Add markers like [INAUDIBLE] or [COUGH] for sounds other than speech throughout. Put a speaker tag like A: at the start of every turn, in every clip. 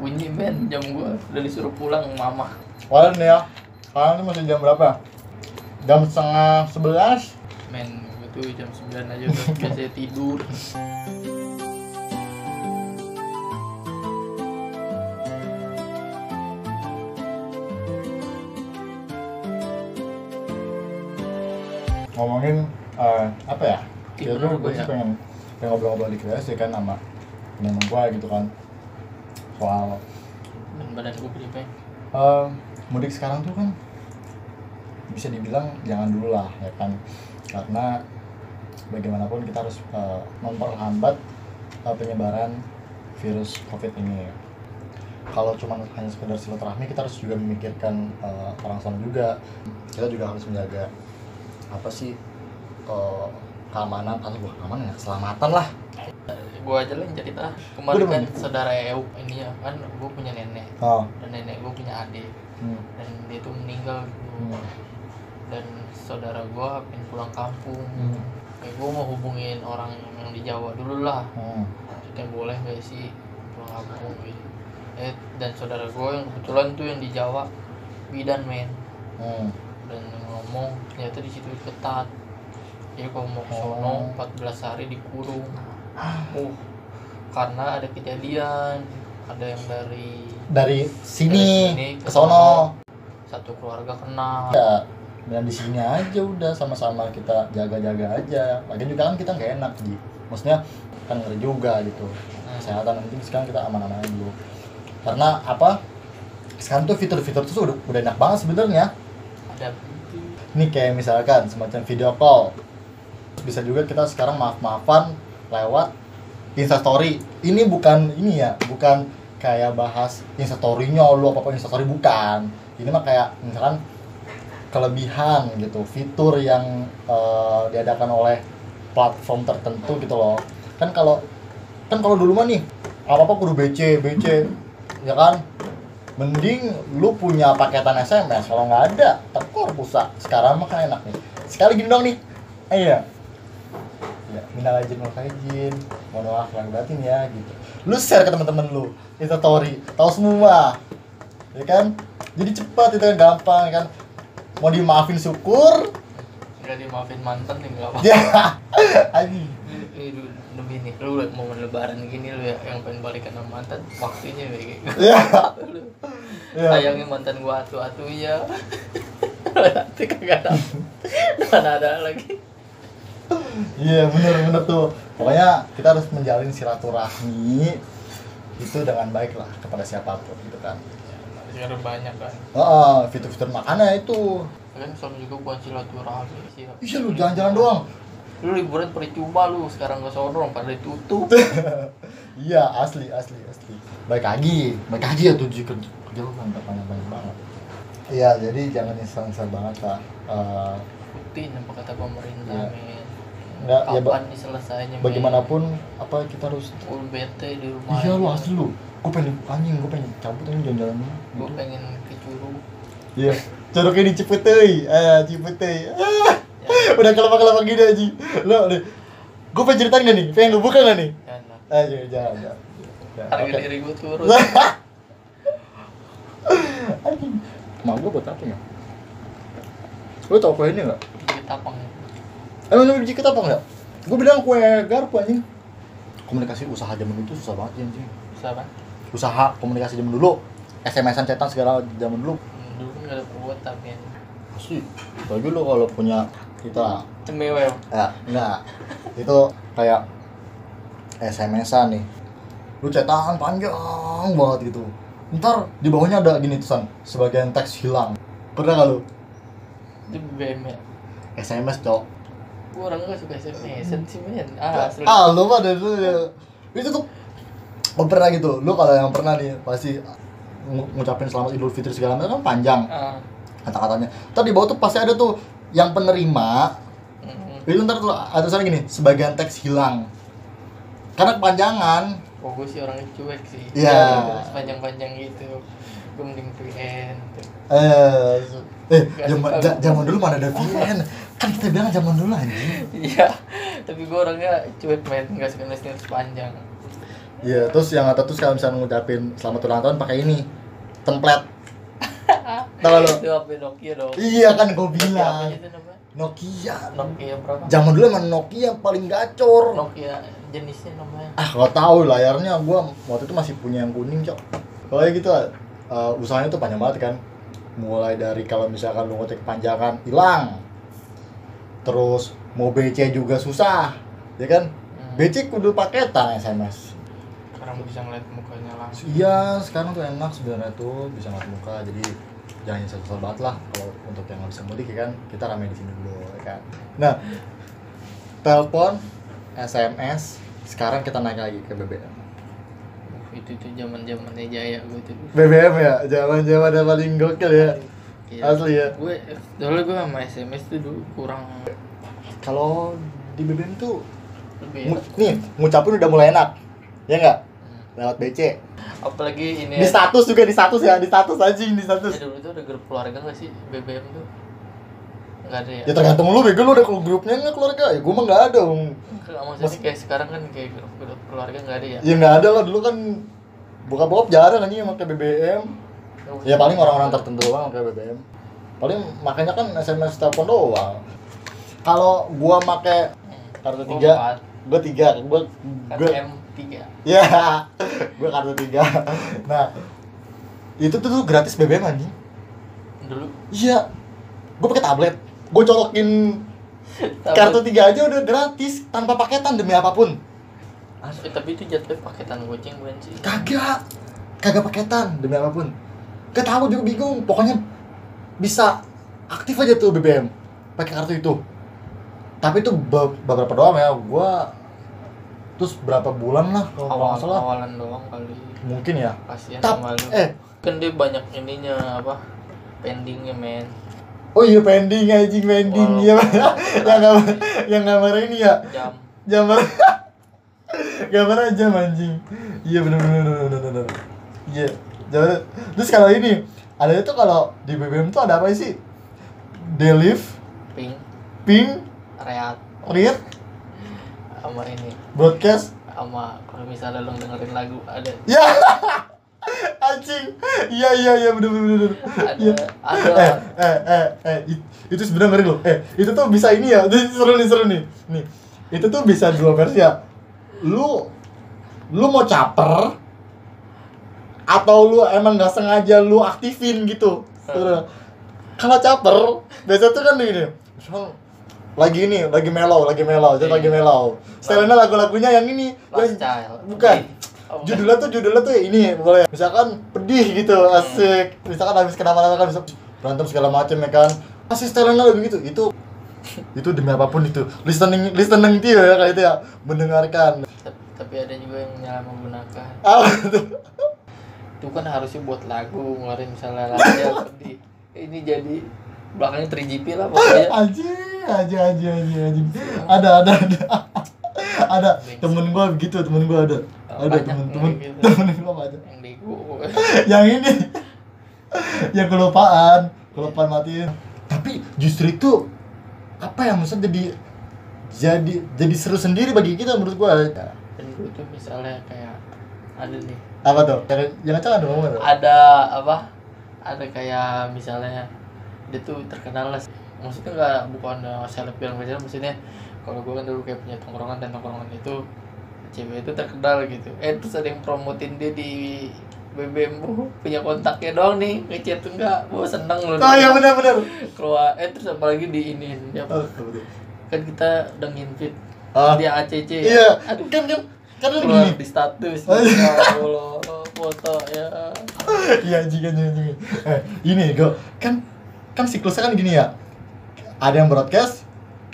A: bunyi men jam gua udah disuruh pulang mama
B: Kalian nih ya, kalian ini masih jam berapa? Jam setengah sebelas?
A: men gua tuh jam 9 aja
B: [LAUGHS]
A: udah biasanya tidur
B: Ngomongin eh, apa ya?
A: Gimana
B: Ya tuh gue
A: gua
B: sih
A: ya?
B: pengen pengen ngobrol-ngobrol dikit aja sih kan sama temen gue gitu kan soal
A: dan badan gua gede
B: eh, mudik sekarang tuh kan bisa dibilang jangan dulu lah ya kan karena bagaimanapun kita harus eh, memperlambat eh, penyebaran virus covid ini kalau cuma hanya sekedar silaturahmi kita harus juga memikirkan eh, orang sana juga kita juga harus menjaga apa sih eh, keamanan atau bukan keamanan ya keselamatan lah
A: gua aja lah yang cerita
B: Gua
A: kemarin
B: udah
A: kan
B: mandi.
A: saudara Euk ini ya kan gua punya nenek
B: oh
A: dan nenek gua punya adik
B: hmm.
A: dan dia tuh meninggal gitu
B: Hmm.
A: dan saudara gua pengen pulang kampung
B: Hmm.
A: ya gua mau hubungin orang yang di Jawa dulu lah
B: Hmm.
A: kita boleh gak sih pulang kampung gitu eh, dan saudara gue yang kebetulan tuh yang di Jawa bidan men
B: Hmm.
A: dan yang ngomong ternyata di situ ketat jadi kalau mau ke
B: Oh.
A: sono 14 hari dikurung uh karena ada kejadian ada yang dari
B: dari sini,
A: sini
B: ke sono
A: satu keluarga kena
B: ya dan di sini aja udah sama-sama kita jaga-jaga aja lagian juga kan kita nggak enak di maksudnya kan ngeri juga gitu kesehatan penting sekarang kita aman-aman aja dulu karena apa sekarang tuh fitur-fitur tuh udah, udah enak banget sebenarnya
A: ada
B: ini kayak misalkan semacam video call bisa juga kita sekarang maaf-maafan lewat instastory ini bukan ini ya bukan kayak bahas instastorynya lu apa apa instastory bukan ini mah kayak misalkan kelebihan gitu fitur yang eh, diadakan oleh platform tertentu gitu loh kan kalau kan kalau dulu mah nih apa apa kudu BC BC ya kan mending lu punya paketan SMS kalau nggak ada tekor pulsa sekarang mah kan enak nih sekali gini dong nih Eh, iya ya minal aja mau izin mohon maaf lahir batin ya gitu lu share ke teman-teman lu itu story tahu semua ya kan jadi cepat itu kan gampang ya kan mau dimaafin syukur [LAUGHS]
A: udah dimaafin mantan tinggal apa
B: ya anjing.
A: Ini- eh, ini lebih nih lu liat momen lebaran gini lu ya yang pengen balikan sama mantan waktunya
B: [LAUGHS]
A: kayak gitu
B: ya ya
A: sayangnya mantan gua atu atu ya nanti kagak ada mana ada lagi
B: Iya bener bener tuh pokoknya kita harus menjalin silaturahmi itu dengan baik lah kepada siapapun gitu kan.
A: sekarang banyak kan
B: Oh, fitur-fitur makannya itu.
A: kan suami juga buat silaturahmi sih
B: Iya lu jalan-jalan doang.
A: lu liburan percuma lu sekarang ke sono orang pada ditutup
B: Iya asli asli asli. Baik lagi, baik lagi ya tuh kerja kerja lu kan banyak banyak banget. Iya jadi jangan instan-instan banget lah.
A: Iya,
B: Eh,
A: rutin apa kata pemerintah
B: Iya.
A: men
B: Nggak, ya,
A: kapan nih selesainya men?
B: bagaimanapun apa kita harus.
A: Gua bete di rumah
B: Iya lu
A: aja.
B: asli lu. Gue pengen anjing, gue pengen cabut anjing jalan-jalan.
A: gua pengen ke curug
B: Iya. Coroknya di Cipetei, ah Cipetei. Ah.
A: Ya.
B: Udah kelapa-kelapa gini aja. Lo, lo. Gue pengen cerita nggak nih? Pengen lu buka nggak nih?
A: dan lah.
B: Ah, jangan, jangan. jangan. Ya,
A: harga
B: oke.
A: diri gua turun
B: Anjing. Mau gue buat apa ya? Lo tau kue ini nggak? Eh,
A: dikit tapang
B: Emang lo biji ketapang nggak? Gue bilang kue garpu anjing. Komunikasi usaha zaman itu susah banget ya, anjing.
A: bisa kan
B: Usaha komunikasi zaman dulu, SMS-an cetan segala zaman dulu.
A: dulu kan nggak ada perbuatan men
B: Asli. Bagi lo kalau punya kita
A: cemewel
B: Ya, enggak. Itu kayak SMS-an nih. Lu cetakan panjang banget gitu. Ntar di bawahnya ada gini tulisan, sebagian teks hilang. Pernah gak lu?
A: itu BM ya
B: SMS, Cok.
A: gue orang gak suka SMS sih men ah asli
B: Ah, lu mah dari dulu ya. Itu tuh oh, pernah gitu. Lu kalau yang pernah nih pasti ngu- ngucapin selamat Idul Fitri segala macam kan panjang
A: ah
B: kata-katanya. Ntar di bawah tuh pasti ada tuh yang penerima
A: mm.
B: itu ntar tuh ada tulisan gini, sebagian teks hilang. Karena kepanjangan,
A: kok gue Oh, sih orangnya cuek sih
B: Iya.
A: panjang panjang gitu gue mending VN [LAUGHS]
B: Eh, eh,
A: Gak suka
B: zaman ja-
A: gua.
B: zaman dulu mana ada VPN? Kan kita bilang zaman dulu anjing.
A: iya tapi gue orangnya cuek men gak suka nulis nulis panjang
B: Iya, terus yang ada terus kalau misalnya ngucapin selamat ulang tahun pakai ini template. Tahu lu?
A: Itu HP Nokia dong.
B: Iya kan gue
A: Apa
B: bilang
A: itu namanya?
B: Nokia.
A: Nokia berapa?
B: Zaman dulu emang Nokia yang paling gacor.
A: Nokia jenisnya namanya.
B: Ah, gak tahu layarnya gua waktu itu masih punya yang kuning, Cok. Kalau gitu eh, usahanya tuh panjang banget kan. Mulai dari kalau misalkan lu ngotek panjangan hilang. Terus mau BC juga susah, ya kan?
A: Hmm.
B: BC kudu paketan SMS.
A: Sekarang bisa ngeliat mukanya langsung.
B: Iya, sekarang tuh enak sebenarnya tuh bisa ngeliat muka, jadi jangan nyesel-nyesel banget lah kalau untuk yang nggak bisa mudik ya kan kita rame di sini dulu ya kan. Nah, telepon, SMS, sekarang kita naik lagi ke BBM.
A: Uh, itu tuh zaman zamannya jaya gue tuh.
B: BBM ya, zaman zaman ada paling gokil ya.
A: Iya.
B: Asli ya.
A: Gue soalnya gue sama SMS tuh dulu kurang
B: Kalau di BBM tuh
A: lebih. ya.
B: ngu- nih ngucapin udah mulai enak, ya nggak?
A: Hmm.
B: Lewat BC.
A: Apalagi ini
B: Di status juga di status ya, di status anjing di status.
A: ya, dulu tuh ada grup keluarga gak sih BBM tuh? Gak ada ya?
B: Ya tergantung lu bego lu ada grupnya nggak keluarga? Ya gue mah nggak ada. Om.
A: Enggak, maksudnya kayak sekarang kan kayak grup, grup keluarga gak ada ya?
B: Ya nggak ada lah dulu kan buka bokap jarang kan yang pakai BBM. Ya paling orang-orang tertentu doang pakai BBM. Paling makanya kan SMS telepon doang. Kalau gua pakai
A: Hmm.
B: kartu
A: Gua
B: tiga,
A: empat.
B: gua tiga, gua gua
A: KTM 3
B: ya [LAUGHS] gua kartu tiga. Nah itu tuh, tuh gratis BBM anjing.
A: dulu
B: Iya, gua pakai tablet. Gua colokin [LAUGHS] kartu tiga aja udah gratis tanpa paketan demi apapun.
A: Tapi- eh, tapi itu jatuhnya paketan goceng bukan sih
B: kagak kagak paketan demi apapun gak tahu juga bingung pokoknya bisa aktif aja tuh BBM pakai kartu itu tapi itu be- beberapa doang ya gua terus berapa bulan lah kalau
A: awal
B: nggak salah
A: awalan doang kali
B: mungkin ya
A: kasihan
B: oh, Tap-
A: sama lu
B: eh.
A: kan dia banyak ininya apa pendingnya men
B: oh iya pending anjing pending
A: Wow.
B: ya [LAUGHS] yang gambar yang gambar ini ya
A: jam
B: gambar gambar aja anjing iya bener bener bener bener, bener bener. iya jangan terus kalau ini ada itu kalau di BBM tuh ada apa sih Delive,
A: ping
B: ping,
A: reat
B: read,
A: sama ini
B: broadcast.
A: sama kalau misalnya lo dengerin lagu ada
B: Ya. [LAUGHS] Anjing. Iya iya iya bener bener bener. Iya.
A: ada
B: Eh,
A: ada
B: eh, eh, eh, it- itu sebenarnya ngeri loh. Eh, itu tuh bisa ini ya. Ini seru nih, seru nih. Nih. Itu tuh bisa dua versi ya. Lu lu mau caper atau lu emang nggak sengaja lu aktifin gitu. Sebenarnya. Kalau caper, biasa tuh kan gini. Misal lagi ini, lagi mellow, lagi mellow, jadi
A: Iya.
B: lagi mellow. Stylenya lagu-lagunya yang ini, yang-
A: last child
B: Eh, bukan.
A: Oh, bukan.
B: judulnya tuh judulnya tuh ya ini boleh misalkan pedih gitu asik misalkan habis kenapa-napa kan bisa berantem segala macem ya kan pasti stylenya lebih gitu itu itu demi apapun itu listening listening dia ya kayak itu ya mendengarkan Ah,
A: Tap- tapi ada juga yang nyala menggunakan
B: apa tuh
A: itu kan harusnya buat lagu ngeluarin misalnya lagu yang
B: [LAUGHS]
A: sedih ini jadi belakangnya 3GP lah pokoknya
B: [LAUGHS] aja aja aja aja aja ada ada ada [LAUGHS] ada temen gua begitu temen gua ada ada
A: Banyak
B: temen
A: yang
B: temen
A: gitu.
B: temen gua ada
A: yang bego
B: [LAUGHS] yang ini yang kelupaan kelupaan matiin tapi justru itu apa ya maksudnya jadi jadi jadi seru sendiri bagi kita menurut gua
A: dan gue tuh misalnya kayak ada nih
B: apa tuh jangan jangan jangan dong ngomong dong.
A: ada apa ada kayak misalnya dia tuh terkenal lah maksudnya nggak bukan uh, seleb yang wajar maksudnya kalau gue kan dulu kayak punya tongkrongan dan tongkrongan itu cewek itu terkenal gitu eh terus ada yang promotin dia di BBM bu "Uh, punya kontaknya doang nih ngechat tuh enggak bu seneng loh
B: oh ya benar benar
A: keluar eh terus apalagi di ini kan
B: Oh, betul.
A: kita udah nginvite
B: Ah.
A: dia ACC ya.
B: iya
A: aduh
B: kan kan kan lu
A: keluar
B: gini
A: di status
B: Oh, iya.
A: ya Allah, foto ya
B: Iya jika jika jika. Eh, ini go kan kan siklusnya kan gini ya. Ada yang broadcast,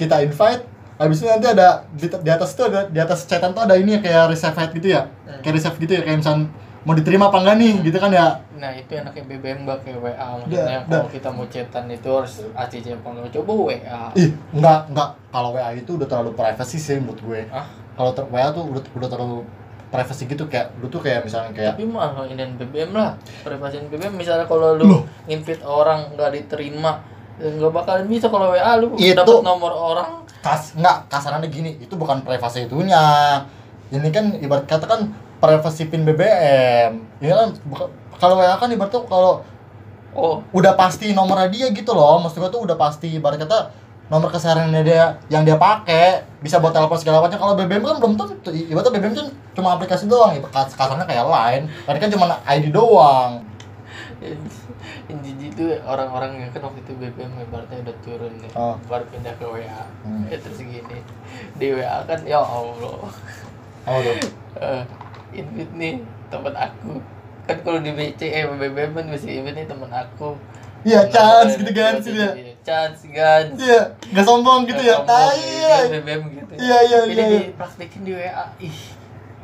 B: kita invite, habis itu nanti ada di, di atas itu ada di atas chatan tuh ada ini ya, kayak reserve gitu ya.
A: Hmm.
B: Kayak reserve gitu ya kayak misalnya mau diterima apa enggak nih gitu kan ya.
A: nah itu enaknya BBM gak kayak WA maksudnya
B: Dah,
A: kalau
B: dah.
A: kita mau chatan itu harus ACC apa enggak coba WA
B: Ih, enggak enggak kalau WA itu udah terlalu privacy sih menurut gue.
A: ah
B: Kalau ter- WA tuh udah, udah terlalu privacy gitu kayak lu tuh kayak misalnya kayak
A: tapi mah ini BBM lah privasiin BBM misalnya kalau
B: Loh.
A: lu nginvite orang nggak diterima eh, nggak bakalan bisa kalau WA lu
B: Itu.
A: dapat nomor orang
B: kas nggak kasarannya gini itu bukan privasi itunya ini kan ibarat kata kan privacy pin BBM ini kan buka- kalau WA kan ibarat tuh kalau
A: oh [LAUGHS]
B: udah pasti nomornya dia gitu loh maksud gua tuh udah pasti ibarat kata nomor kesehariannya dia yang dia pakai bisa buat telepon segala macam kalau BBM kan belum tentu I- ibaratnya BBM tuh kan cuma aplikasi doang ibarat kas- kasarnya kayak lain tadi kan cuma ID doang
A: yang jijik itu orang-orang yang kan waktu itu BBM ibaratnya udah turun nih
B: Oh.
A: baru pindah ke WA
B: Hmm.
A: eh terus gini di WA kan ya Allah
B: oh tuh
A: Eh, invite nih teman aku kan kalau di BC eh BBM kan masih invite nih teman aku
B: iya
A: Nah,
B: chance
A: eh,
B: gitu kan sih dia
A: iya, chance guys
B: iya nggak sombong gitu ya
A: Sombong,
B: tai
A: iya,
B: lah.
A: BBM gitu
B: Iya, iya,
A: ini
B: iya.
A: dipraktekin di WA ih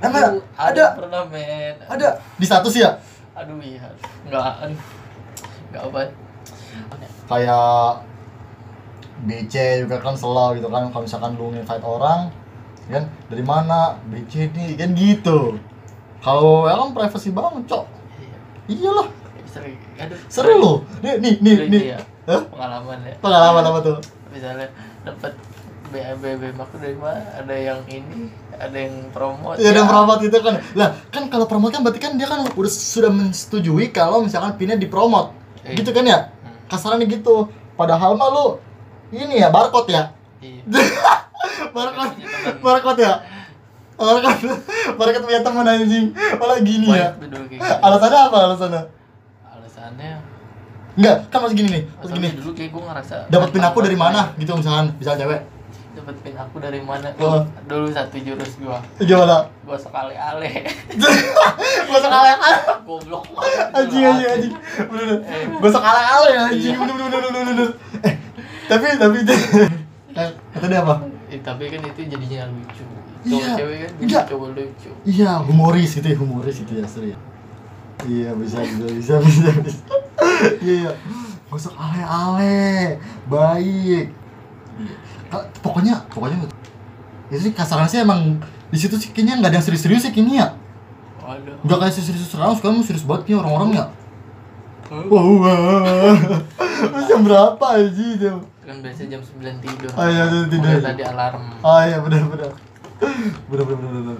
B: Emang
A: aduh,
B: ada?
A: aduh, pernah men
B: ada di status ya
A: aduh iya nggak aduh. nggak apa
B: kayak BC juga kan selalu gitu kan kalau misalkan lu invite orang kan dari mana BC nih kan gitu kalau ya kan privacy banget cok
A: Iya,
B: iyalah
A: bisa lagi. aduh
B: seru loh nih nih nih,
A: Seru
B: nih.
A: iya.
B: Hah?
A: pengalaman ya
B: pengalaman apa tuh
A: misalnya dapat BBM aku dari mana ada yang ini ada yang Iya. promo
B: ya ada promot itu kan lah kan kalau promot kan berarti kan dia kan udah sudah menyetujui kalau misalkan pinnya dipromot
A: Iya.
B: gitu kan ya
A: Hmm.
B: kasarannya gitu padahal mah lu ini ya barcode ya
A: Iya.
B: barcode barcode ya barcode barcode punya temen anjing malah gini
A: Wah,
B: ya
A: itu dulu kayak gini.
B: alasannya apa alasannya
A: alasannya
B: enggak kan masih gini nih masih gini
A: alasannya dulu kayak gue ngerasa
B: dapat pin aku dari mana gitu misalkan misalkan cewek
A: dapat pin aku dari mana
B: Oh.
A: dulu satu jurus gua
B: gimana [LAUGHS]
A: gua sekali ale [LAUGHS]
B: gosok ale-ale
A: goblok
B: anjing anjing anjing bener bener gosok ale-ale ya anjing bener bener bener bener, bener eh tapi tapi [LAUGHS] Eh, kata dia apa
A: Eh, tapi kan itu jadinya lucu cowok
B: Iya.
A: cewek kan jadi
B: Enggak.
A: cowok lucu
B: Iya, humoris itu ya, humoris itu ya, seru ya. Iya, bisa, bisa, bisa, bisa, bisa. Iya, iya. Masuk ale-ale, baik. Iya. Ka- Pokoknya, pokoknya itu sih kasarnya sih emang di situ sih kayaknya nggak ada yang serius-serius sih kayaknya ya.
A: waduh
B: Nggak kayak serius-serius sekarang, sekarang serius banget nih orang-orang ya. Wow, [LAUGHS] wow. Terus jam berapa aja jam?
A: kan biasa jam 9 tidur
B: Ah, iya, iya, tidur.
A: Udah tadi alarm
B: Ah iya benar-benar. Benar-benar benar.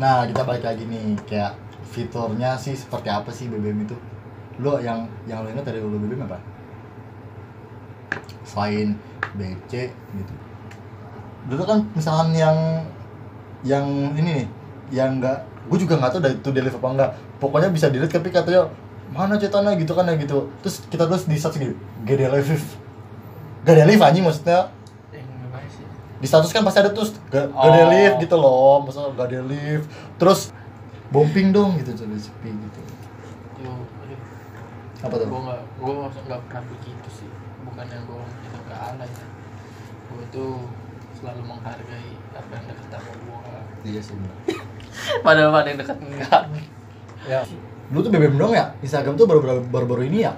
B: Nah, kita balik lagi nih kayak fiturnya sih seperti apa sih BBM itu? Lo yang yang lo ingat dari lo BBM apa? Selain BC gitu. Dulu kan misalkan yang yang ini nih, yang enggak gue juga nggak tahu dari itu delete apa enggak pokoknya bisa delete tapi katanya mana cetannya gitu kan ya gitu terus kita terus di search gitu GD live gak ada live anjing maksudnya
A: Eh, gimana sih
B: di status kan pasti ada terus gak
A: Oh.
B: ada lift gitu loh masa gak ada lift terus bombing dong gitu coba sepi gitu
A: Yo, aduh.
B: apa
A: gue
B: tuh
A: nggak gue nggak pernah begitu sih bukan yang gue itu ke ala ya gue tuh selalu menghargai apa yang dekat sama gue
B: iya sih bener.
A: padahal ada yang dekat enggak
B: [LAUGHS] ya dulu tuh BBM dong ya Instagram tuh baru baru, baru, baru ini ya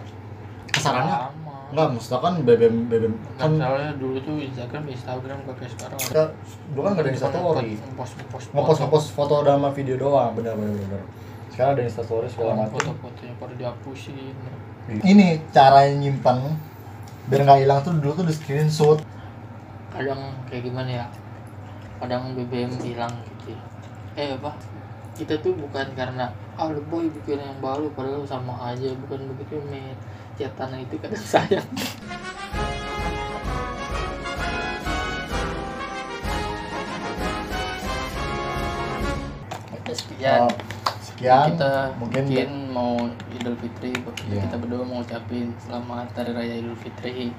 B: kesarannya
A: sama
B: enggak maksudnya kan BBM BBM
A: kan
B: kan
A: soalnya dulu tuh Instagram Instagram gak kayak sekarang
B: kita dulu kan gak ada instastory
A: ngepost ngepost
B: ngepost
A: foto.
B: ngepost foto dan sama video doang bener bener bener sekarang ada instastory segala
A: Orang
B: macam
A: foto-fotonya pada dihapusin
B: ini cara nyimpan biar nggak hilang tuh dulu tuh di screenshot
A: kadang kayak gimana ya kadang BBM hilang gitu ya. eh apa kita tuh bukan karena ah lu boy bikin yang baru padahal sama aja bukan begitu men catatan itu kadang [LAUGHS] sayang Oke, sekian
B: Oh, sekian
A: kita
B: mungkin,
A: mungkin, mau Idul Fitri
B: Iya.
A: kita berdua mau ucapin selamat hari raya Idul Fitri